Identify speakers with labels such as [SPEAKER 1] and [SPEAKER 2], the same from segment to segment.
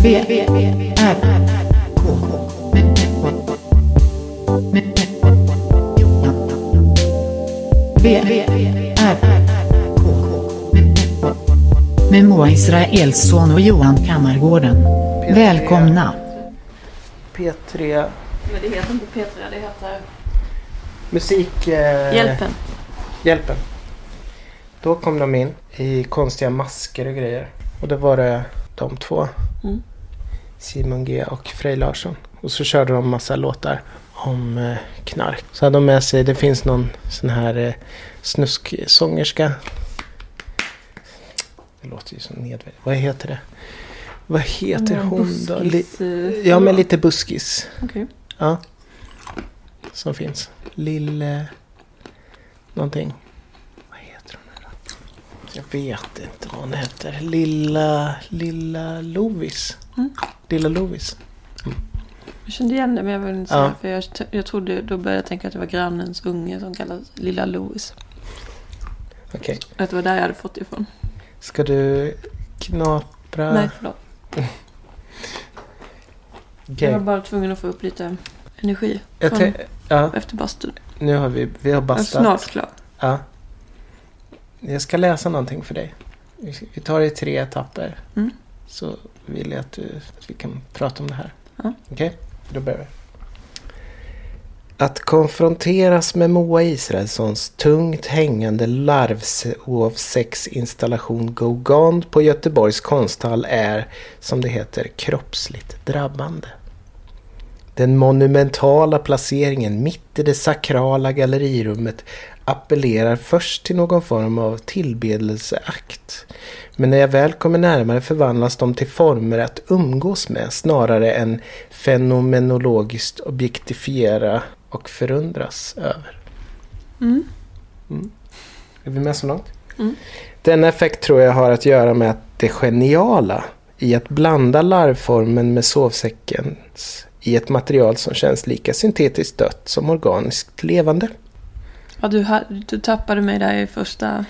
[SPEAKER 1] V, V, V, R, R, K, M, M, M, Johan. V, V, V, R, R, K, M, M, Med Moa Israelsson och Johan Kammargården.
[SPEAKER 2] P3.
[SPEAKER 1] Välkomna!
[SPEAKER 2] P3
[SPEAKER 3] Men det heter inte P3, det heter
[SPEAKER 2] Musik... Eh,
[SPEAKER 3] Hjälpen.
[SPEAKER 2] Hjälpen. Då kom de in i konstiga masker och grejer. Och då var det de två.
[SPEAKER 3] Mm.
[SPEAKER 2] Simon G och Frej Larsson. Och så körde de massa låtar om eh, knark. Så hade de med sig, det finns någon sån här eh, snusksångerska. Det låter ju som nedvärdigt. Vad heter det? Vad heter
[SPEAKER 3] Mm,
[SPEAKER 2] hon då? Li-
[SPEAKER 3] eh,
[SPEAKER 2] ja, men lite buskis.
[SPEAKER 3] Okej.
[SPEAKER 2] Ja. Som finns. Lille... Någonting. Vad heter hon nu då? Jag vet inte vad hon heter. Lilla... Lilla Lovis.
[SPEAKER 3] Mm.
[SPEAKER 2] Lilla Lovis.
[SPEAKER 3] Jag kände igen det men jag ville inte säga
[SPEAKER 2] Ja.
[SPEAKER 3] för jag, t- jag trodde, då började jag tänka att det var grannens unge som kallas Lilla Louis.
[SPEAKER 2] Okej.
[SPEAKER 3] Att det var där jag hade fått det ifrån.
[SPEAKER 2] Ska du knapra...
[SPEAKER 3] Nej, förlåt.
[SPEAKER 2] Okej.
[SPEAKER 3] Jag var bara tvungen att få upp lite energi
[SPEAKER 2] Jag
[SPEAKER 3] från
[SPEAKER 2] tän- ja,
[SPEAKER 3] efter bastun.
[SPEAKER 2] nu har vi, vi har
[SPEAKER 3] Jag är
[SPEAKER 2] bastat.
[SPEAKER 3] snart klar.
[SPEAKER 2] Ja. Jag ska läsa någonting för dig. Vi- Vi tar det i tre etapper.
[SPEAKER 3] Mm.
[SPEAKER 2] Så vill jag att, du, att vi kan prata om det här.
[SPEAKER 3] Ja.
[SPEAKER 2] Okej, då börjar vi. Att konfronteras med Moa Israelssons tungt hängande larvsovsexinstallation Go Gone på Göteborgs konsthall är, som det heter, kroppsligt drabbande. Den monumentala placeringen mitt i det sakrala gallerirummet appellerar först till någon form av tillbedelseakt. Men när jag väl kommer närmare förvandlas de till former att umgås med snarare än fenomenologiskt objektifiera och förundras över.
[SPEAKER 3] Mm.
[SPEAKER 2] Är vi med så långt?
[SPEAKER 3] Mm.
[SPEAKER 2] Denna effekt tror jag har att göra med att det geniala i att blanda larvformen med sovsäckens i ett material som känns lika syntetiskt dött som organiskt levande.
[SPEAKER 3] Ja, du, ha- du tappade mig där i första...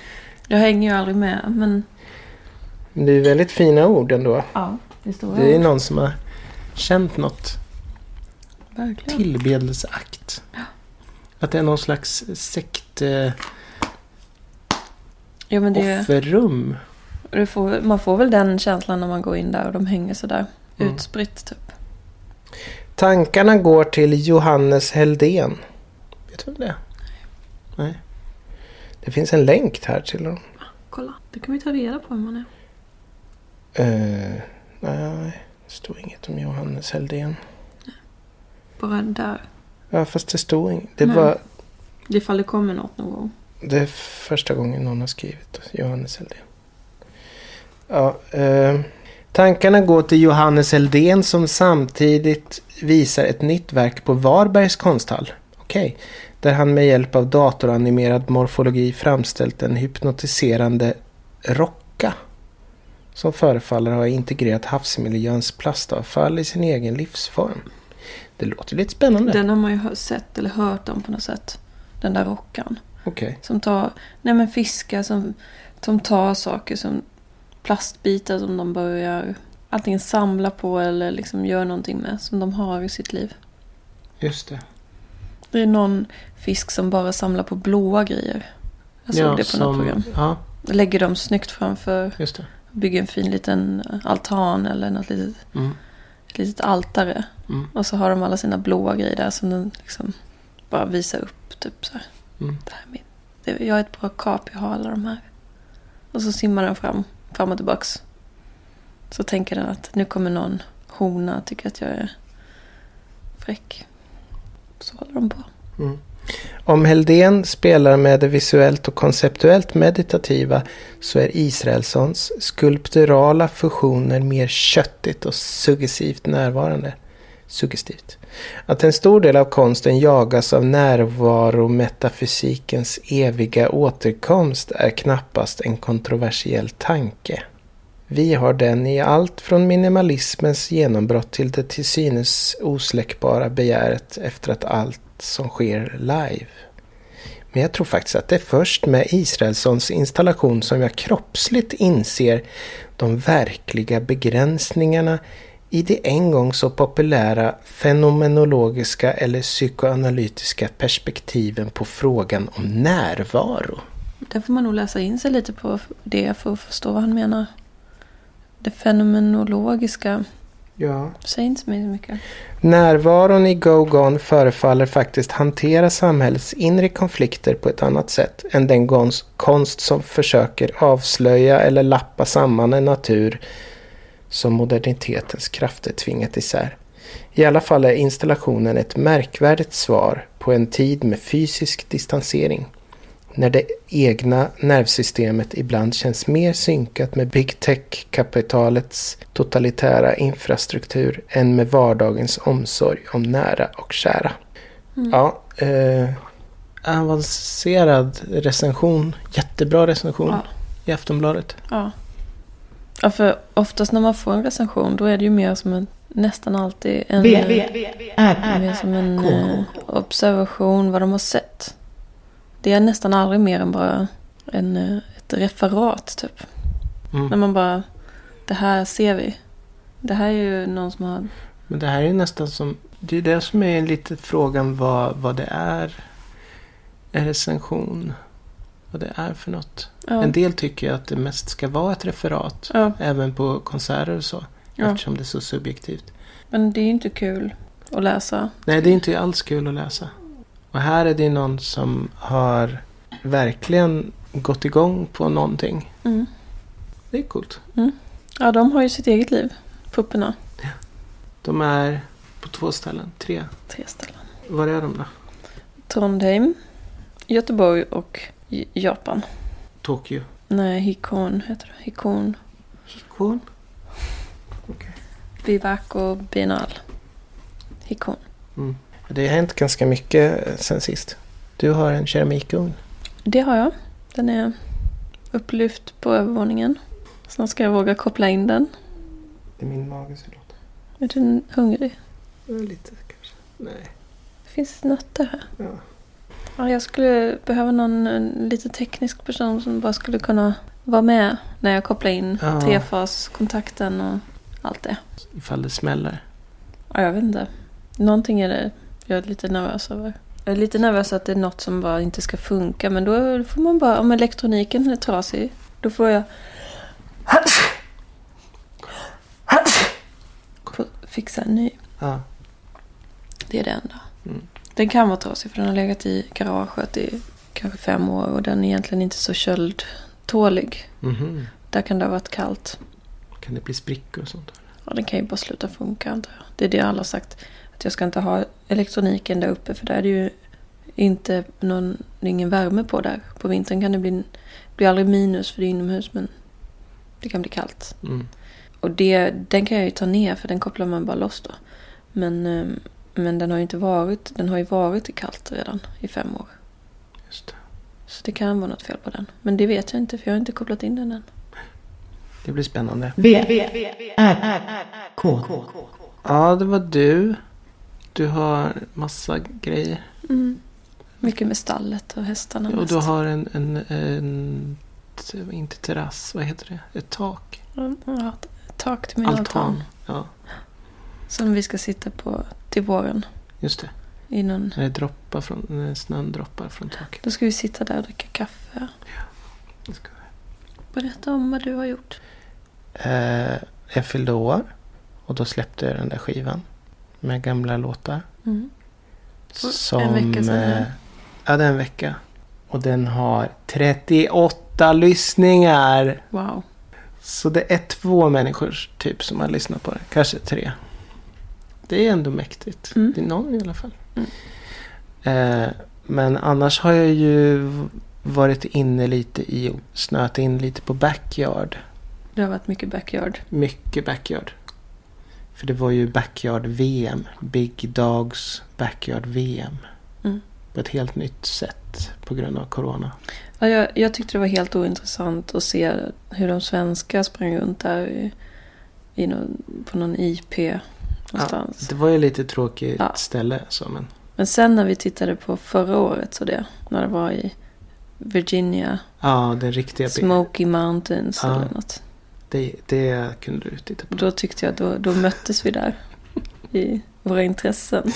[SPEAKER 3] Jag hänger ju aldrig med men...
[SPEAKER 2] Men Det är väldigt fina ord ändå.
[SPEAKER 3] Ja, det står
[SPEAKER 2] Det är någon som har känt något.
[SPEAKER 3] Verkligen.
[SPEAKER 2] Tillbedelseakt. Att det är någon slags sekt... Eh,
[SPEAKER 3] Ja, men det,
[SPEAKER 2] offerrum.
[SPEAKER 3] det får, man får väl den känslan när man går in där och de hänger sådär
[SPEAKER 2] Mm.
[SPEAKER 3] utspritt typ.
[SPEAKER 2] Tankarna går till Johannes Heldén. Vet du vem det är? Nej. Det finns en länk här till honom.
[SPEAKER 3] Kolla, det kan vi ta reda på hur man är.
[SPEAKER 2] Eh, nej, det stod inget om Johannes Heldén.
[SPEAKER 3] Bara där.
[SPEAKER 2] Ja, fast det stod inget. Det
[SPEAKER 3] Nej.
[SPEAKER 2] var
[SPEAKER 3] Det ifall det kommer något någon gång.
[SPEAKER 2] det är första gången någon har skrivit Johannes Heldén. Ja, eh, tankarna går till Johannes Heldén som samtidigt visar ett nytt verk på Varbergs konsthall. Okej. Där han med hjälp av datoranimerad morfologi framställt en hypnotiserande rocka. Som förefaller ha integrerat havsmiljöns plastavfall i sin egen livsform. Det låter lite spännande.
[SPEAKER 3] Den har man ju hö- sett eller hört om på något sätt. Den där rockan.
[SPEAKER 2] Okej.
[SPEAKER 3] Som tar, nej men fiskar som, som tar saker som plastbitar som de börjar antingen samla på eller liksom gör någonting med som de har i sitt liv.
[SPEAKER 2] Just det.
[SPEAKER 3] Det är någon fisk som bara samlar på blåa grejer. Jag såg det på något program.
[SPEAKER 2] Ja,
[SPEAKER 3] Lägger dem snyggt framför,
[SPEAKER 2] just det.
[SPEAKER 3] bygger en fin liten altan eller något litet,
[SPEAKER 2] Mm.
[SPEAKER 3] ett litet altare.
[SPEAKER 2] Mm.
[SPEAKER 3] Och så har de alla sina blåa grejer där som de liksom bara visar upp. Typ så här.
[SPEAKER 2] Mm.
[SPEAKER 3] Det här är min. Det, jag är ett bra kap, jag har alla de här. Och så simmar den fram, fram och tillbaks. Så tänker den att nu kommer någon hona och tycker att jag är fräck. Så håller de på.
[SPEAKER 2] Om Heldén spelar med det visuellt och konceptuellt meditativa så är Israelssons skulpturala fusioner mer köttigt och suggestivt närvarande. Suggestivt. Att en stor del av konsten jagas av närvarometafysikens eviga återkomst är knappast en kontroversiell tanke. Vi har den i allt från minimalismens genombrott till det till synes osläckbara begäret efter att allt som sker live. Men jag tror faktiskt att det är först med Israelssons installation som jag kroppsligt inser de verkliga begränsningarna i det en gång så populära fenomenologiska eller psykoanalytiska perspektiven på frågan om närvaro.
[SPEAKER 3] Där får man nog läsa in sig lite på det för att förstå vad han menar. Det fenomenologiska
[SPEAKER 2] Ja.
[SPEAKER 3] säger inte mig så mycket.
[SPEAKER 2] Närvaron i Go-Gon förefaller faktiskt hantera samhällets inre konflikter på ett annat sätt än den gons- konst som försöker avslöja eller lappa samman en natur som modernitetens krafter tvingat isär. I alla fall är installationen ett märkvärdigt svar på en tid med fysisk distansering. När det egna nervsystemet ibland känns mer synkat med big tech-kapitalets totalitära infrastruktur än med vardagens omsorg om nära och kära.
[SPEAKER 3] Mm.
[SPEAKER 2] Ja, eh, avancerad recension. Jättebra recension
[SPEAKER 3] Ja.
[SPEAKER 2] i Aftonbladet.
[SPEAKER 3] Ja. ja, för oftast när man får en recension då är det ju mer som en, nästan alltid en,
[SPEAKER 1] V,
[SPEAKER 3] eh,
[SPEAKER 1] V, R,
[SPEAKER 3] mer som en
[SPEAKER 1] K, K,
[SPEAKER 3] eh, observation vad de har sett. Det är nästan aldrig mer än bara en, eh, ett referat typ. När
[SPEAKER 2] Mm.
[SPEAKER 3] man bara, det här ser vi. Det här är ju någon som har...
[SPEAKER 2] Men det här är ju nästan som... Det är det som är lite frågan vad, vad det är. En recension. Vad det är för något.
[SPEAKER 3] Ja,
[SPEAKER 2] En del tycker ju att det mest ska vara ett referat.
[SPEAKER 3] ja,
[SPEAKER 2] Även på konserter och så.
[SPEAKER 3] ja.
[SPEAKER 2] Eftersom det är så subjektivt.
[SPEAKER 3] Men det är ju inte kul att läsa.
[SPEAKER 2] Nej, det är inte alls kul att läsa. Och här är det ju någon som har verkligen gått igång på någonting.
[SPEAKER 3] Mm.
[SPEAKER 2] Det är coolt.
[SPEAKER 3] Ja, de har ju sitt eget liv, pupporna.
[SPEAKER 2] De är på två ställen. Tre.
[SPEAKER 3] Tre ställen.
[SPEAKER 2] Var är de då?
[SPEAKER 3] Trondheim, Göteborg och J- Japan.
[SPEAKER 2] Tokyo.
[SPEAKER 3] Nej, Hikon heter det. Hikon
[SPEAKER 2] Hikon?
[SPEAKER 3] Bivaco Biennal. Hikon.
[SPEAKER 2] Det har hänt ganska mycket eh, sen sist. Du har en keramikugn.
[SPEAKER 3] Det har jag. Den är upplyft på övervåningen. Snart ska jag våga koppla in den.
[SPEAKER 2] Det är min mage som låter.
[SPEAKER 3] Är du hungrig?
[SPEAKER 2] Lite kanske. Nej.
[SPEAKER 3] Det finns nötter här.
[SPEAKER 2] Ja.
[SPEAKER 3] Ja, jag skulle behöva någon eh, lite teknisk person som bara skulle kunna vara med när jag kopplar in
[SPEAKER 2] Ja.
[SPEAKER 3] trefaskontakten och allt det.
[SPEAKER 2] Ifall det smäller.
[SPEAKER 3] Ja, jag vet inte. Någonting är det jag är lite nervös över. Jag är lite nervös att det är något som bara inte ska funka. Men då får man bara, om elektroniken är trasig, då får jag få fixa en ny.
[SPEAKER 2] Ja.
[SPEAKER 3] Det är det enda.
[SPEAKER 2] Mm.
[SPEAKER 3] Den kan vara trasig för den har legat i garaget i kanske fem år och den är egentligen inte så köldtålig.
[SPEAKER 2] Mhm.
[SPEAKER 3] Där kan det ha varit kallt.
[SPEAKER 2] Kan det bli sprickor och sånt?
[SPEAKER 3] Ja, den kan ju bara sluta funka antar jag. Det är det alla har sagt. Att jag ska inte ha elektroniken där uppe för där är det ju inte någon, det är ingen värme på där. På vintern kan det bli, bli aldrig minus för det är inomhus men det kan bli kallt.
[SPEAKER 2] Mm.
[SPEAKER 3] Och det, den kan jag ju ta ner för den kopplar man bara loss då. Men, ehm, men den har ju inte varit, den har ju varit kallt redan i fem år.
[SPEAKER 2] Just det.
[SPEAKER 3] Så det kan vara något fel på den. Men det vet jag inte för jag har inte kopplat in den än.
[SPEAKER 2] Det blir spännande.
[SPEAKER 1] V, R, K, K,
[SPEAKER 2] Ja, det var du. Du har massa grejer.
[SPEAKER 3] Mycket med stallet och hästarna
[SPEAKER 2] Och
[SPEAKER 3] mest.
[SPEAKER 2] du har en, en, en t- inte terrass, vad heter det? Ett tak.
[SPEAKER 3] Ja, tak till min altan.
[SPEAKER 2] Altan. Ja,
[SPEAKER 3] Som vi ska sitta på till våren.
[SPEAKER 2] just det.
[SPEAKER 3] I någon,
[SPEAKER 2] När det droppar från, när snön droppar från taket.
[SPEAKER 3] då ska vi sitta där och dricka kaffe.
[SPEAKER 2] Det ska vi.
[SPEAKER 3] Berätta om vad du har gjort.
[SPEAKER 2] Eh, jag fyllde år. Och då släppte jag den där skivan. Med gamla låtar.
[SPEAKER 3] Mm. För en
[SPEAKER 2] Som,
[SPEAKER 3] vecka sedan,
[SPEAKER 2] eh,
[SPEAKER 3] ja.
[SPEAKER 2] Ja, det är en vecka. Och den har 38 lyssningar.
[SPEAKER 3] Wow.
[SPEAKER 2] Så det är två människor typ som har lyssnat på det. Kanske tre. Det är ändå mäktigt.
[SPEAKER 3] Mm.
[SPEAKER 2] Det är någon i alla fall.
[SPEAKER 3] Mm.
[SPEAKER 2] Eh, men annars har jag ju v- varit inne lite i och snöat in lite på backyard.
[SPEAKER 3] Det har varit mycket backyard.
[SPEAKER 2] Mycket backyard. För det var ju backyard-VM. Big Dogs backyard-VM.
[SPEAKER 3] Mm.
[SPEAKER 2] På ett helt nytt sätt på grund av corona.
[SPEAKER 3] Ja, jag, jag tyckte det var helt ointressant att se hur de svenska sprang runt där i, i någon, på någon IP någonstans.
[SPEAKER 2] Det var ju lite tråkigt
[SPEAKER 3] Ja.
[SPEAKER 2] ställe. Så, men...
[SPEAKER 3] Men sen när vi tittade på förra året så det, när det var i Virginia,
[SPEAKER 2] Ja, den riktiga
[SPEAKER 3] Smoky Mountains
[SPEAKER 2] Ja.
[SPEAKER 3] eller något.
[SPEAKER 2] Det, det kunde du titta på.
[SPEAKER 3] Då tyckte jag att då, då möttes vi där i våra intressen.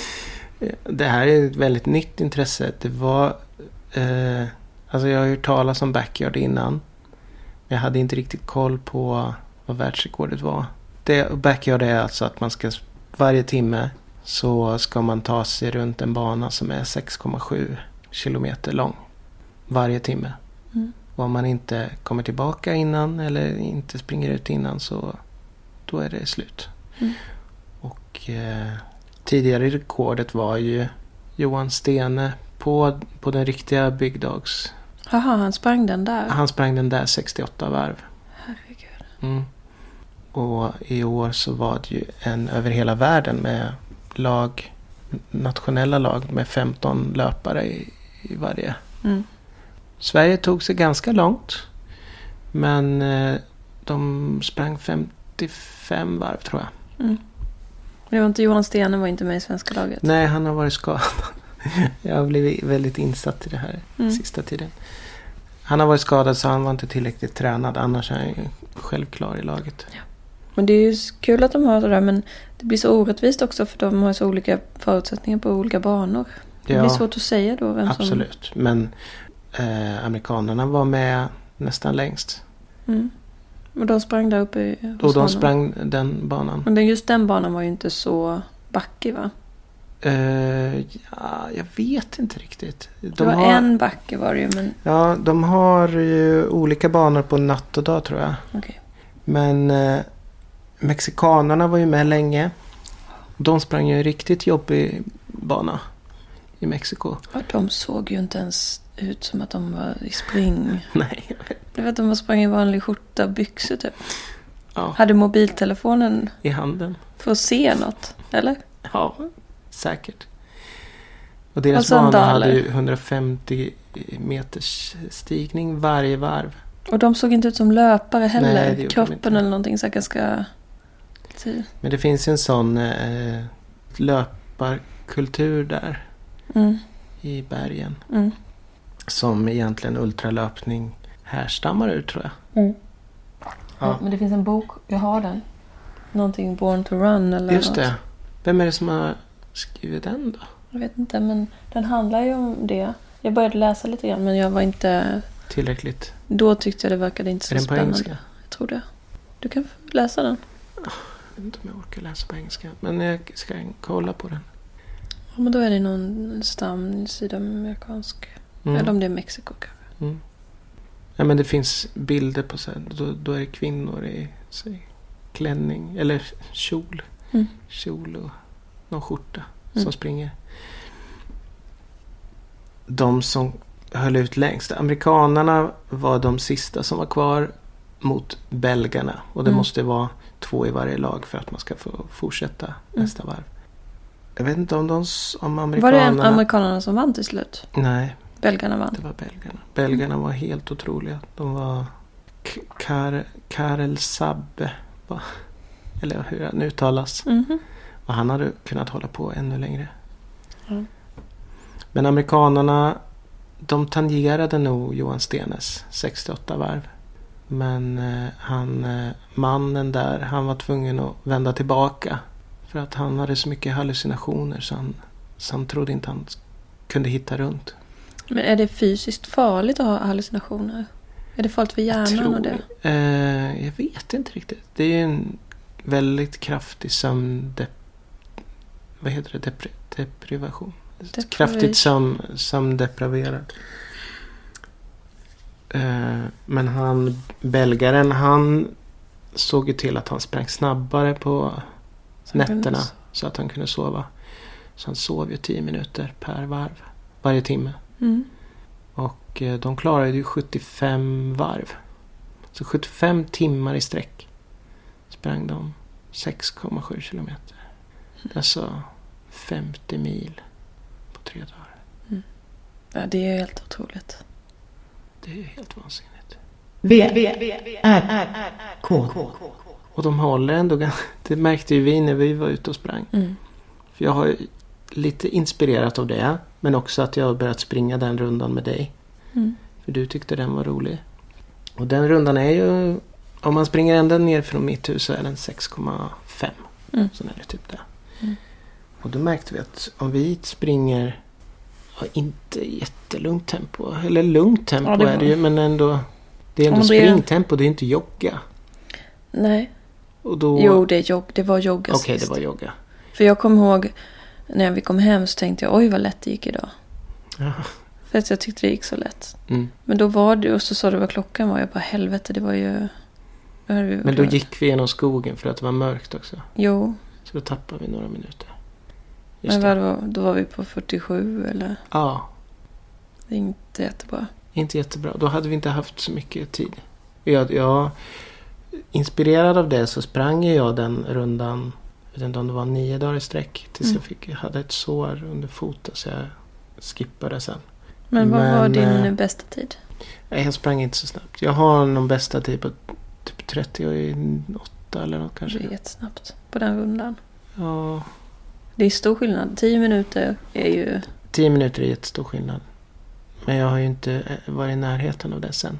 [SPEAKER 2] Det här är ett väldigt nytt intresse. Det var... Eh, alltså jag har ju hört talas om backyard innan. Men jag hade inte riktigt koll på vad världsrekordet var. Det, backyard är alltså att man ska... Varje timme så ska man ta sig runt en bana som är 6,7 kilometer lång. Varje timme.
[SPEAKER 3] Mm.
[SPEAKER 2] Och om man inte kommer tillbaka innan eller inte springer ut innan så då är det slut.
[SPEAKER 3] Mm.
[SPEAKER 2] Och eh, tidigare rekordet var ju Johan Stene på, på den riktiga byggdags.
[SPEAKER 3] Haha, han sprang den där.
[SPEAKER 2] Han sprang den där 68 varv.
[SPEAKER 3] Herregud.
[SPEAKER 2] Mm. Och i år så var det ju en över hela världen med lag, nationella lag med 15 löpare i, i varje.
[SPEAKER 3] Mm.
[SPEAKER 2] Sverige tog sig ganska långt. Men eh, de sprang 55 varv tror jag.
[SPEAKER 3] Men Det var inte Johan Stene var inte med i svenska laget.
[SPEAKER 2] Nej, han har varit skadad. Jag har blivit väldigt insatt i det här
[SPEAKER 3] Mm.
[SPEAKER 2] sista tiden. Han har varit skadad så han var inte tillräckligt tränad. Annars är han ju självklar i laget.
[SPEAKER 3] Men det är ju s- kul att de har det där men det blir så orättvist också för de har så olika förutsättningar på olika banor. Det blir svårt att säga då vem
[SPEAKER 2] absolut. Men eh, amerikanerna var med nästan längst.
[SPEAKER 3] som... Mm. Och de sprang där uppe i- hos
[SPEAKER 2] Och de
[SPEAKER 3] honom.
[SPEAKER 2] sprang den banan.
[SPEAKER 3] Men den- just den banan var ju inte så backig va?
[SPEAKER 2] Eh, ja, jag vet inte riktigt. De
[SPEAKER 3] det var
[SPEAKER 2] har-
[SPEAKER 3] en backe var det ju men
[SPEAKER 2] Ja, de har ju olika banor på natt och dag tror jag.
[SPEAKER 3] okej.
[SPEAKER 2] Men eh, mexikanerna var ju med länge. De sprang ju en riktigt jobbig bana i Mexiko.
[SPEAKER 3] Och de såg ju inte ens ut som att de var i spring.
[SPEAKER 2] Nej,
[SPEAKER 3] Du vet de var sprang i vanlig skjorta och byxor typ.
[SPEAKER 2] ja,
[SPEAKER 3] Hade mobiltelefonen
[SPEAKER 2] i handen.
[SPEAKER 3] för att se något, eller?
[SPEAKER 2] Ja, säkert. Och deras
[SPEAKER 3] Och sandaler.
[SPEAKER 2] bana hade ju 150 meters stigning varje varv.
[SPEAKER 3] Och de såg inte ut som löpare heller.
[SPEAKER 2] Nej, det gjorde de
[SPEAKER 3] Kroppen
[SPEAKER 2] inte.
[SPEAKER 3] eller någonting så här ganska... ty-
[SPEAKER 2] Men det finns ju en sån eh, löparkultur där
[SPEAKER 3] Mm,
[SPEAKER 2] i bergen.
[SPEAKER 3] mm.
[SPEAKER 2] Som egentligen ultralöpning härstammar ur tror jag. Ja.
[SPEAKER 3] Men det finns en bok, jag har den. Någonting Born to Run eller
[SPEAKER 2] Just
[SPEAKER 3] något.
[SPEAKER 2] det. Vem är det som har skrivit den då?
[SPEAKER 3] Jag vet inte, men den handlar ju om det. Jag började läsa lite grann men jag var inte...
[SPEAKER 2] Tillräckligt.
[SPEAKER 3] Då tyckte jag det verkade inte så
[SPEAKER 2] är den på
[SPEAKER 3] spännande.
[SPEAKER 2] engelska?
[SPEAKER 3] Jag tror det. Du kan få läsa den.
[SPEAKER 2] Jag vet inte om jag orkar läsa på engelska. Men jag ska kolla på den.
[SPEAKER 3] Ja, men då är det någon stam, sydamerikansk.
[SPEAKER 2] Mm.
[SPEAKER 3] Eller om det är Mexiko kanske.
[SPEAKER 2] Mm. Ja, men det finns bilder på så här. Då, då är det kvinnor i säg, klänning eller kjol.
[SPEAKER 3] Mm.
[SPEAKER 2] Kjol och någon skjorta
[SPEAKER 3] Mm.
[SPEAKER 2] som springer. De som höll ut längst. Amerikanarna var de sista som var kvar mot belgarna. Och det
[SPEAKER 3] Mm.
[SPEAKER 2] måste vara två i varje lag för att man ska få fortsätta nästa varv. Jag vet inte om de s- om
[SPEAKER 3] Mm. Var det en-
[SPEAKER 2] amerikanerna...
[SPEAKER 3] amerikanerna som vann till slut?
[SPEAKER 2] Nej.
[SPEAKER 3] Belgarna vann.
[SPEAKER 2] Det var belgarna. Belgarna var helt otroliga. De var K- Kar Karel Sabbe. Va? Eller hur han uttalas.
[SPEAKER 3] Mhm.
[SPEAKER 2] Och han hade kunnat hålla på ännu längre.
[SPEAKER 3] Ja.
[SPEAKER 2] Men amerikanarna de tangerade nog Johan Stenes 68 varv. Men eh, han, eh, mannen där, han var tvungen att vända tillbaka. För att han hade så mycket hallucinationer så han, så han trodde inte han kunde hitta runt.
[SPEAKER 3] Men är det fysiskt farligt att ha hallucinationer? Är det farligt för hjärnan och det?
[SPEAKER 2] Eh, jag vet inte riktigt. Det är ju en väldigt kraftig sömndep... Vad heter det? Depri- deprivation?
[SPEAKER 3] Deprivi-
[SPEAKER 2] Kraftigt sömn, sömndepraverad. Eh, men han, belgaren, han såg ju till att han sprang snabbare på
[SPEAKER 3] Som
[SPEAKER 2] nätterna.
[SPEAKER 3] kunde-
[SPEAKER 2] Så att han kunde sova. Så han sov ju 10 minuter per varv. Varje timme.
[SPEAKER 3] Mm.
[SPEAKER 2] Och eh, de klarade ju 75 varv. Så 75 timmar i sträck sprang de 6,7 kilometer. Alltså 50 mil på tre dagar.
[SPEAKER 3] Ja, det är helt otroligt.
[SPEAKER 2] Det är helt vansinnigt.
[SPEAKER 1] V V R K
[SPEAKER 2] Och de håller ändå ganska... Det märkte ju vi när vi var ute och sprang.
[SPEAKER 3] Mm.
[SPEAKER 2] För jag har ju lite inspirerat av det. Men också att jag har börjat springa den rundan med dig.
[SPEAKER 3] Mm.
[SPEAKER 2] För du tyckte den var rolig. Och den rundan är ju Om man springer ända ner från mitt hus så är den 6,5.
[SPEAKER 3] Mm.
[SPEAKER 2] Så den är typ där.
[SPEAKER 3] Mm.
[SPEAKER 2] Och då märkte vi att om vi springer, ja, inte jättelugnt tempo, eller lugnt tempo
[SPEAKER 3] Ja, det
[SPEAKER 2] är
[SPEAKER 3] var-
[SPEAKER 2] det ju, men ändå. Det är ändå
[SPEAKER 3] Om det är-
[SPEAKER 2] springtempo, det är inte jogga.
[SPEAKER 3] Nej.
[SPEAKER 2] Och då...
[SPEAKER 3] Jo, det, är jog- det var jogga
[SPEAKER 2] Okej, det
[SPEAKER 3] sist.
[SPEAKER 2] var jogga.
[SPEAKER 3] För jag kommer ihåg när vi kom hem så tänkte jag oj vad lätt det gick idag.
[SPEAKER 2] Ja.
[SPEAKER 3] För att jag tyckte det gick så lätt.
[SPEAKER 2] Mm.
[SPEAKER 3] Men då var det, och så sa du vad klockan var. Jag bara helvete, det var ju... då hade vi
[SPEAKER 2] Men då
[SPEAKER 3] klarat-
[SPEAKER 2] gick vi genom skogen för att det var mörkt också.
[SPEAKER 3] Jo,
[SPEAKER 2] Så då tappade vi några minuter. Just
[SPEAKER 3] men
[SPEAKER 2] det.
[SPEAKER 3] vad det var, då var vi på 47 eller...
[SPEAKER 2] Ja,
[SPEAKER 3] Det är inte jättebra.
[SPEAKER 2] Inte jättebra. Då hade vi inte haft så mycket tid. Jag, jag, inspirerad av det så sprang ju jag den rundan, jag vet inte om det var nio dagar i sträck, tills
[SPEAKER 3] Mm.
[SPEAKER 2] jag, fick, jag hade ett sår under foten så jag skippade sen.
[SPEAKER 3] Men vad
[SPEAKER 2] Men,
[SPEAKER 3] var din
[SPEAKER 2] eh,
[SPEAKER 3] bästa tid?
[SPEAKER 2] Nej, jag sprang inte så snabbt. Jag har någon bästa tid på typ 38 eller något
[SPEAKER 3] Det är
[SPEAKER 2] kanske.
[SPEAKER 3] jättesnabbt på den rundan.
[SPEAKER 2] Ja,
[SPEAKER 3] Det är stor skillnad. 10 minuter är ju...
[SPEAKER 2] tio minuter är jättestor skillnad. Men jag har ju inte eh, varit i närheten av det sen.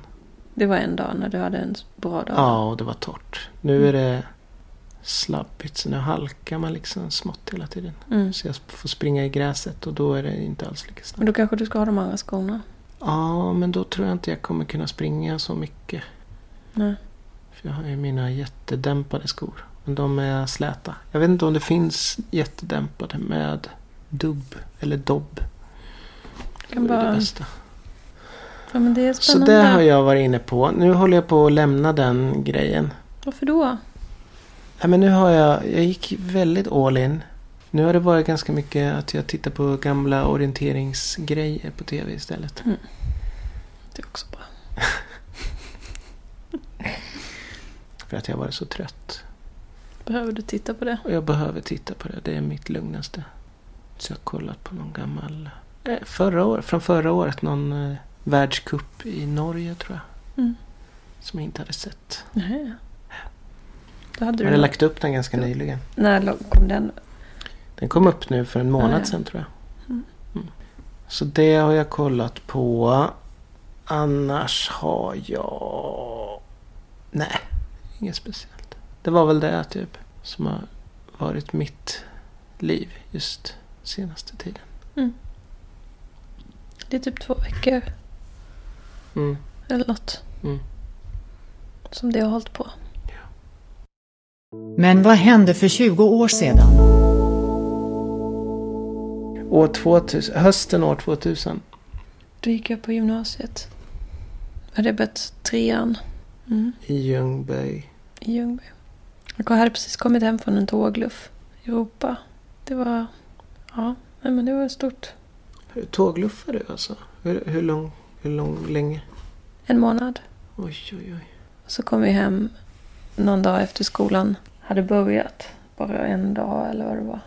[SPEAKER 3] Det var en dag när du hade en bra dag.
[SPEAKER 2] Ja, och det var torrt. Nu är det slabbigt, så nu halkar man liksom smått hela tiden.
[SPEAKER 3] Mm.
[SPEAKER 2] Så jag får springa i gräset och då är det inte alls lika
[SPEAKER 3] Men
[SPEAKER 2] snabbt.
[SPEAKER 3] då kanske du ska ha de andra skorna.
[SPEAKER 2] Ja, men då tror jag inte jag kommer kunna springa så mycket.
[SPEAKER 3] Nej.
[SPEAKER 2] För jag har ju mina jättedämpade skor. Men de är släta. Jag vet inte om det finns jättedämpade med dubb eller dobb. Det
[SPEAKER 3] Kan
[SPEAKER 2] vore det
[SPEAKER 3] bara-
[SPEAKER 2] bästa.
[SPEAKER 3] Ja, men det är
[SPEAKER 2] Så
[SPEAKER 3] spännande.
[SPEAKER 2] det har jag varit inne på. Nu håller jag på att lämna den grejen.
[SPEAKER 3] Varför då?
[SPEAKER 2] Nej, men nu har jag, jag gick väldigt all in. Nu har det varit ganska mycket att jag tittar på gamla orienteringsgrejer på tv istället.
[SPEAKER 3] Det är också bra.
[SPEAKER 2] För att jag har varit så trött.
[SPEAKER 3] Behöver du titta på det?
[SPEAKER 2] Och jag behöver titta på det, det är mitt lugnaste. Så jag har kollat på någon gammal... Eh, förra år, från förra året, någon eh, världscup i Norge tror jag.
[SPEAKER 3] Mm.
[SPEAKER 2] Som jag inte hade sett.
[SPEAKER 3] Nej. Då hade
[SPEAKER 2] Jag
[SPEAKER 3] du...
[SPEAKER 2] hade lagt upp den ganska
[SPEAKER 3] Jo.
[SPEAKER 2] nyligen.
[SPEAKER 3] När lo- kom den?
[SPEAKER 2] Den kom upp nu för en månad
[SPEAKER 3] Ah, ja.
[SPEAKER 2] sedan tror jag.
[SPEAKER 3] Mm.
[SPEAKER 2] Mm. Så det har jag kollat på. Annars har jag... Nej, inget speciellt. Det var väl det typ som har varit mitt liv just senaste tiden.
[SPEAKER 3] Det är typ två veckor
[SPEAKER 2] Mm.
[SPEAKER 3] eller något.
[SPEAKER 2] Mm.
[SPEAKER 3] Som det har hållit på.
[SPEAKER 1] Men vad hände för 20 år sedan?
[SPEAKER 2] År 2000, hösten år 2000.
[SPEAKER 3] Då gick jag på gymnasiet. Jag hade börjat trean mm,
[SPEAKER 2] I Ljungby.
[SPEAKER 3] i Ljungby. Jag hade precis kommit hem från en tågluff i Europa. Det var... Ja, nej, men det var stort.
[SPEAKER 2] Tågluffar du alltså? Hur, hur lång, hur lång, länge?
[SPEAKER 3] En månad.
[SPEAKER 2] Oj, oj, oj.
[SPEAKER 3] Så kom vi hem någon dag efter skolan hade börjat. Bara en dag eller vad det var.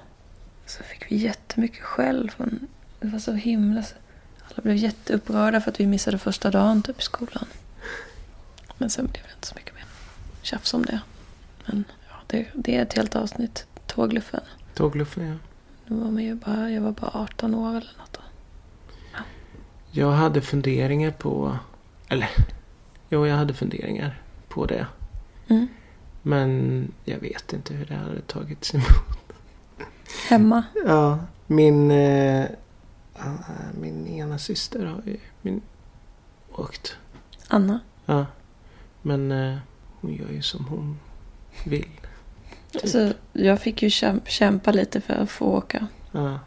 [SPEAKER 3] Så fick vi jättemycket skäll. Från, det var så himla... Alla blev jätteupprörda för att vi missade första dagen typ i skolan. Men sen blev det inte så mycket mer tjafs om det. Men ja, det, det är ett helt avsnitt. Tågluffen.
[SPEAKER 2] Tågluffar ja.
[SPEAKER 3] Då var man ju bara, jag var bara 18 år eller något. då.
[SPEAKER 2] Jag hade funderingar på... Eller... Jo, jag hade funderingar på det.
[SPEAKER 3] Mm.
[SPEAKER 2] Men jag vet inte hur det hade tagits emot.
[SPEAKER 3] Hemma.
[SPEAKER 2] Ja, min... Eh, ah, min ena syster har ju min, åkt.
[SPEAKER 3] Anna.
[SPEAKER 2] Ja. Men eh, hon gör ju som hon vill. Typ.
[SPEAKER 3] Alltså, jag fick ju kämp- kämpa lite för att få åka.
[SPEAKER 2] Ja.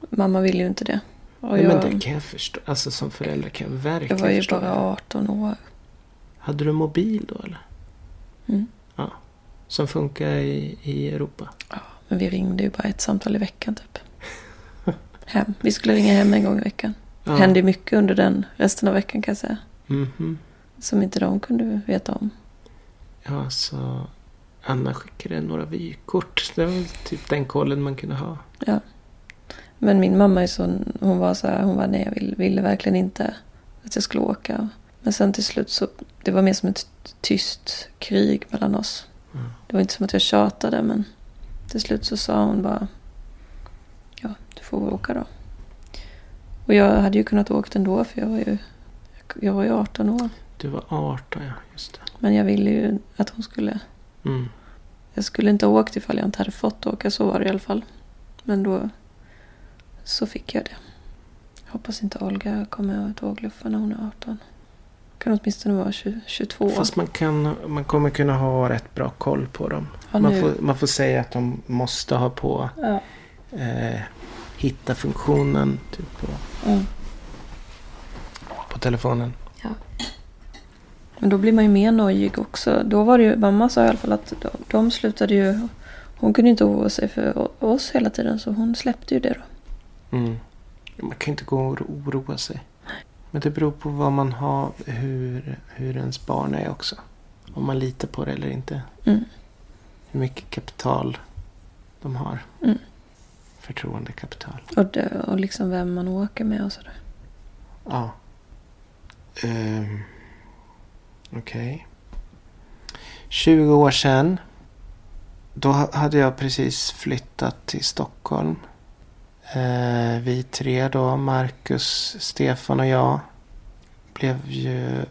[SPEAKER 3] Mamma ville ju inte det. Och
[SPEAKER 2] Nej,
[SPEAKER 3] jag-
[SPEAKER 2] men det kan jag förstå. Alltså som förälder kan jag
[SPEAKER 3] Jag
[SPEAKER 2] verkligen
[SPEAKER 3] var ju
[SPEAKER 2] förstå.
[SPEAKER 3] bara
[SPEAKER 2] det.
[SPEAKER 3] 18 år.
[SPEAKER 2] Hade du mobil då eller?
[SPEAKER 3] Mm.
[SPEAKER 2] Ja. Som funkar i, i Europa?
[SPEAKER 3] Men vi ringde ju bara ett samtal i veckan typ. Hem. Vi skulle ringa hem en gång i veckan.
[SPEAKER 2] Ja.
[SPEAKER 3] Hände ju mycket under den resten av veckan kan jag säga.
[SPEAKER 2] Mhm.
[SPEAKER 3] Som inte de kunde veta om.
[SPEAKER 2] Ja, så Anna skickade några vykort. Det var typ den kollen man kunde ha.
[SPEAKER 3] Men min mamma är så, hon var så här, hon var nej jag ville, ville verkligen inte att jag skulle åka. Men sen till slut så, det var mer som ett tyst krig mellan oss.
[SPEAKER 2] Mm.
[SPEAKER 3] Det var inte som att jag tjatade men till slut så sa hon bara, ja du får väl åka då. Och jag hade ju kunnat åkt ändå för jag var ju, jag var ju 18 år.
[SPEAKER 2] Du var 18, ja. Just det.
[SPEAKER 3] Men jag ville ju att hon skulle...
[SPEAKER 2] Mm.
[SPEAKER 3] Jag skulle inte ha åkt ifall jag inte hade fått åka, så var det i alla fall. Men då så fick jag det. Jag hoppas inte Olga kommer att tågluffa när hon är 18. Kan åtminstone vara 20, 22.
[SPEAKER 2] Fast man, kan, man kommer kunna ha rätt bra koll på dem.
[SPEAKER 3] Ja,
[SPEAKER 2] man,
[SPEAKER 3] nu-
[SPEAKER 2] får, man får säga att de måste ha på
[SPEAKER 3] Ja.
[SPEAKER 2] eh, hitta funktionen typ på,
[SPEAKER 3] Mm.
[SPEAKER 2] på telefonen.
[SPEAKER 3] Men då blir man ju mer nojig också. Då var det ju, mamma sa i alla fall att de, de slutade ju... Hon kunde ju inte oroa sig för o- oss hela tiden så hon släppte ju det då.
[SPEAKER 2] Mm. Man kan ju inte gå och oroa sig. Men det beror på vad man har, hur, hur ens barn är också. Om man litar på det eller inte.
[SPEAKER 3] Mm.
[SPEAKER 2] Hur mycket kapital de har.
[SPEAKER 3] Mm.
[SPEAKER 2] Förtroendekapital.
[SPEAKER 3] Och, det, och liksom vem man åker med och sådär.
[SPEAKER 2] Ja. Ehm, Okej. 20 år sedan. Då ha- hade jag precis flyttat till Stockholm. Eh, vi tre då, Marcus, Stefan och jag. Blev ju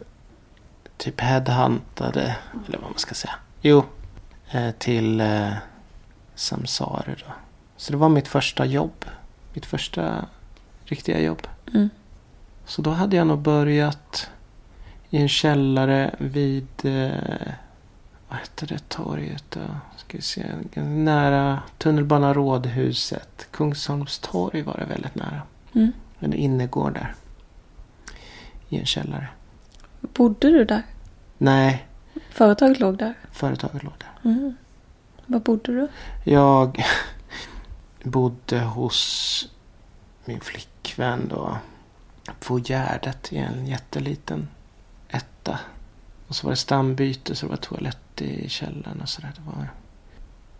[SPEAKER 2] typ headhuntade, eller vad man ska säga. Jo, eh, till eh, Samsare då. Så det var mitt första jobb. Mitt första riktiga jobb.
[SPEAKER 3] Mm.
[SPEAKER 2] Så då hade jag nog börjat i en källare vid, eh, vad hette det torget då? Ska vi se, ganska nära tunnelbana Rådhuset. Kungsholms torg var det väldigt nära.
[SPEAKER 3] Mm.
[SPEAKER 2] En innergård där. I en källare.
[SPEAKER 3] Bodde du där?
[SPEAKER 2] Nej,
[SPEAKER 3] Företaget låg där?
[SPEAKER 2] företaget låg där.
[SPEAKER 3] Mm. Var bodde du?
[SPEAKER 2] Jag bodde hos min flickvän då. På Gärdet i en jätteliten etta. Och så var det stambyte så det var toalett i källaren och sådär. Det var...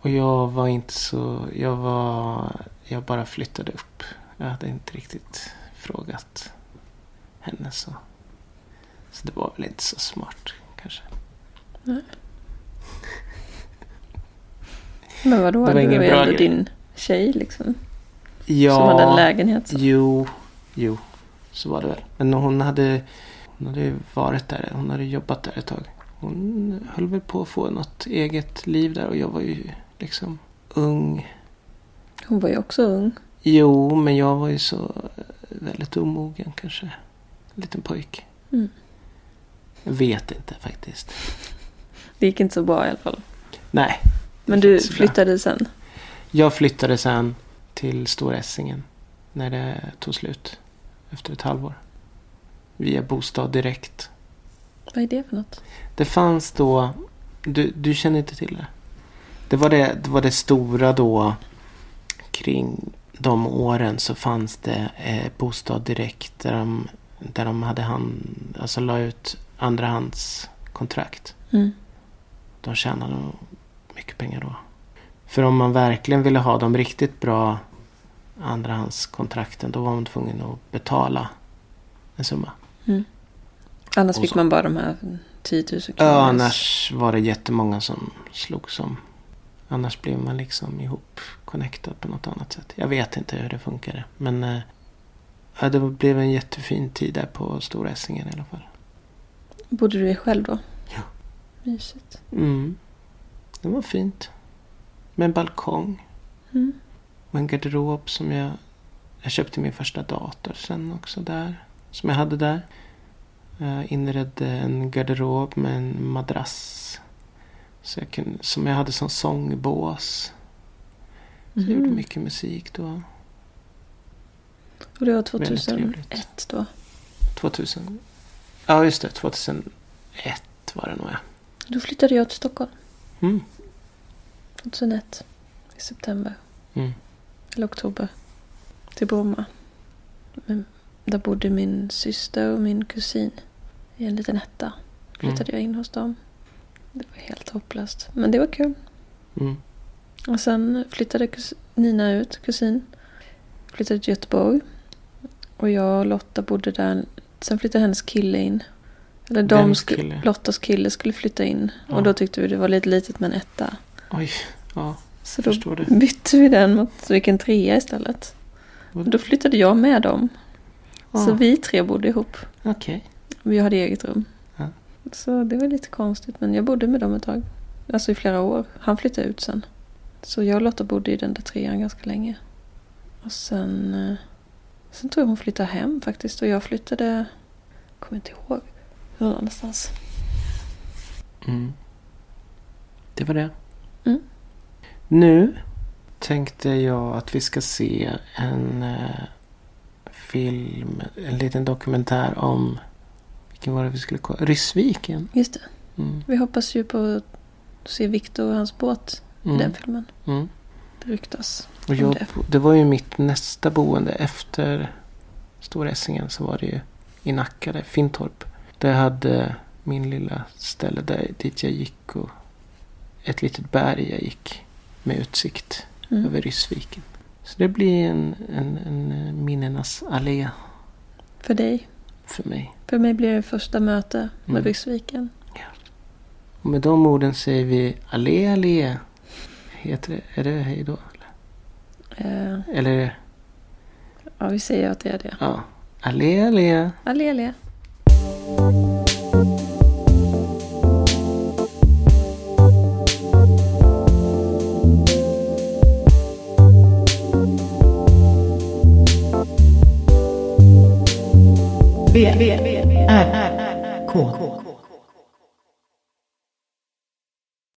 [SPEAKER 2] Och jag var inte så... Jag var... Jag bara flyttade upp. Jag hade inte riktigt frågat henne så. Så det var väl inte så smart kanske.
[SPEAKER 3] Men vadå?
[SPEAKER 2] Det var
[SPEAKER 3] du
[SPEAKER 2] ingen
[SPEAKER 3] var ju
[SPEAKER 2] bra
[SPEAKER 3] ändå
[SPEAKER 2] grej.
[SPEAKER 3] din tjej liksom.
[SPEAKER 2] Ja.
[SPEAKER 3] Som hade en lägenhet. Så.
[SPEAKER 2] Jo, jo, så var det väl. Men hon hade, hon hade ju varit där, hon hade jobbat där ett tag. Hon höll väl på att få något eget liv där och jag var ju liksom ung.
[SPEAKER 3] Hon var ju också ung.
[SPEAKER 2] Jo, men jag var ju så väldigt omogen kanske. En liten pojk.
[SPEAKER 3] Mm.
[SPEAKER 2] Jag vet inte faktiskt.
[SPEAKER 3] Det gick inte så bra i alla fall.
[SPEAKER 2] Nej,
[SPEAKER 3] Men
[SPEAKER 2] Det
[SPEAKER 3] du
[SPEAKER 2] gick inte så bra.
[SPEAKER 3] flyttade sen?
[SPEAKER 2] jag flyttade sen till Stora Essingen när det tog slut. Efter ett halvår. Via Bostad Direkt.
[SPEAKER 3] Vad är det för något?
[SPEAKER 2] Det fanns då, du, du känner inte till det? Det var det, det var det stora då, kring de åren så fanns det eh, Bostad Direkt där de, där de hade hand, alltså la ut andrahandskontrakt.
[SPEAKER 3] Mm.
[SPEAKER 2] De tjänade nog mycket pengar då. För om man verkligen ville ha de riktigt bra andrahandskontrakten då var man tvungen att betala en summa.
[SPEAKER 3] Annars
[SPEAKER 2] Och
[SPEAKER 3] fick
[SPEAKER 2] så-
[SPEAKER 3] man bara de här 10 000 kronor.
[SPEAKER 2] Ja, annars var det jättemånga som slogs om. Annars blev man liksom ihop connectad på något annat sätt. Jag vet inte hur det funkade. Men eh, ja, det blev en jättefin tid där på Stora Essingen i alla fall.
[SPEAKER 3] Bodde du själv då?
[SPEAKER 2] Ja.
[SPEAKER 3] Mysigt.
[SPEAKER 2] Mm. Det var fint. Med en balkong
[SPEAKER 3] Mm.
[SPEAKER 2] och en garderob som jag... Jag köpte min första dator sen också där. Som jag hade där. Jag inredde en garderob med en madrass. Så jag kunde, som jag hade som sångbås. Så jag gjorde
[SPEAKER 3] Mhm.
[SPEAKER 2] mycket musik då.
[SPEAKER 3] Och det var
[SPEAKER 2] Väldigt
[SPEAKER 3] 2001 då?
[SPEAKER 2] 2000. Ja, just det. 2001 var det nog ja.
[SPEAKER 3] Då flyttade jag till Stockholm.
[SPEAKER 2] Mm.
[SPEAKER 3] 2001. I september.
[SPEAKER 2] Mm.
[SPEAKER 3] Eller oktober. Till Bromma. Men där bodde min syster och min kusin. I en liten etta. Flyttade jag in hos dem. Det var helt hopplöst. Men det var kul.
[SPEAKER 2] Mm.
[SPEAKER 3] Och sen flyttade kus- Nina ut, kusin. Flyttade till Göteborg. Och jag och Lotta bodde där. Sen flyttade hennes kille in. Eller de
[SPEAKER 2] Vems
[SPEAKER 3] sku-
[SPEAKER 2] kille?
[SPEAKER 3] Lottas kille skulle flytta in.
[SPEAKER 2] Ja.
[SPEAKER 3] Och då tyckte vi det var lite litet med en etta.
[SPEAKER 2] Oj, ja.
[SPEAKER 3] Så då
[SPEAKER 2] Förstår du.
[SPEAKER 3] bytte vi den mot så fick en trea istället. Och då flyttade jag med dem.
[SPEAKER 2] Ja,
[SPEAKER 3] Så vi tre bodde ihop.
[SPEAKER 2] Okej.
[SPEAKER 3] Vi hade eget rum.
[SPEAKER 2] Ja.
[SPEAKER 3] Så det var lite konstigt, men jag bodde med dem ett tag. Alltså i flera år. Han flyttade ut sen. Så jag och Lotta bodde i den där trean ganska länge. Och sen... eh, Sen tror jag hon flyttade hem faktiskt och jag flyttade... Kommer inte ihåg. Någon annanstans.
[SPEAKER 2] Mm. Det var det.
[SPEAKER 3] Mm.
[SPEAKER 2] Nu tänkte jag att vi ska se en eh, film, en liten dokumentär om, vilken var det vi skulle kolla? Ryssviken.
[SPEAKER 3] Just det.
[SPEAKER 2] Mm.
[SPEAKER 3] Vi hoppas ju på att se Viktor och hans båt i
[SPEAKER 2] Mm.
[SPEAKER 3] den filmen.
[SPEAKER 2] Mm.
[SPEAKER 3] Det ryktas.
[SPEAKER 2] Och
[SPEAKER 3] om
[SPEAKER 2] jag,
[SPEAKER 3] det.
[SPEAKER 2] det var ju mitt nästa boende efter Stora Essingen så var det ju i Nacka, där, Fintorp. Där hade min lilla ställe där, dit jag gick och ett litet berg jag gick med utsikt
[SPEAKER 3] Mm.
[SPEAKER 2] över Ryssviken. Så det blir en, en, en eh, minnenas allé
[SPEAKER 3] För dig.
[SPEAKER 2] för mig.
[SPEAKER 3] För mig blir det första möte med
[SPEAKER 2] Mm.
[SPEAKER 3] Ryssviken.
[SPEAKER 2] Och med de orden säger vi allé, allé. Heter det, är det hej då?
[SPEAKER 3] Eh,
[SPEAKER 2] Eller är det,
[SPEAKER 3] ja, vi säger att det är det.
[SPEAKER 2] ja, allé, allé.
[SPEAKER 3] Allé, allé.
[SPEAKER 1] B, B, R, K,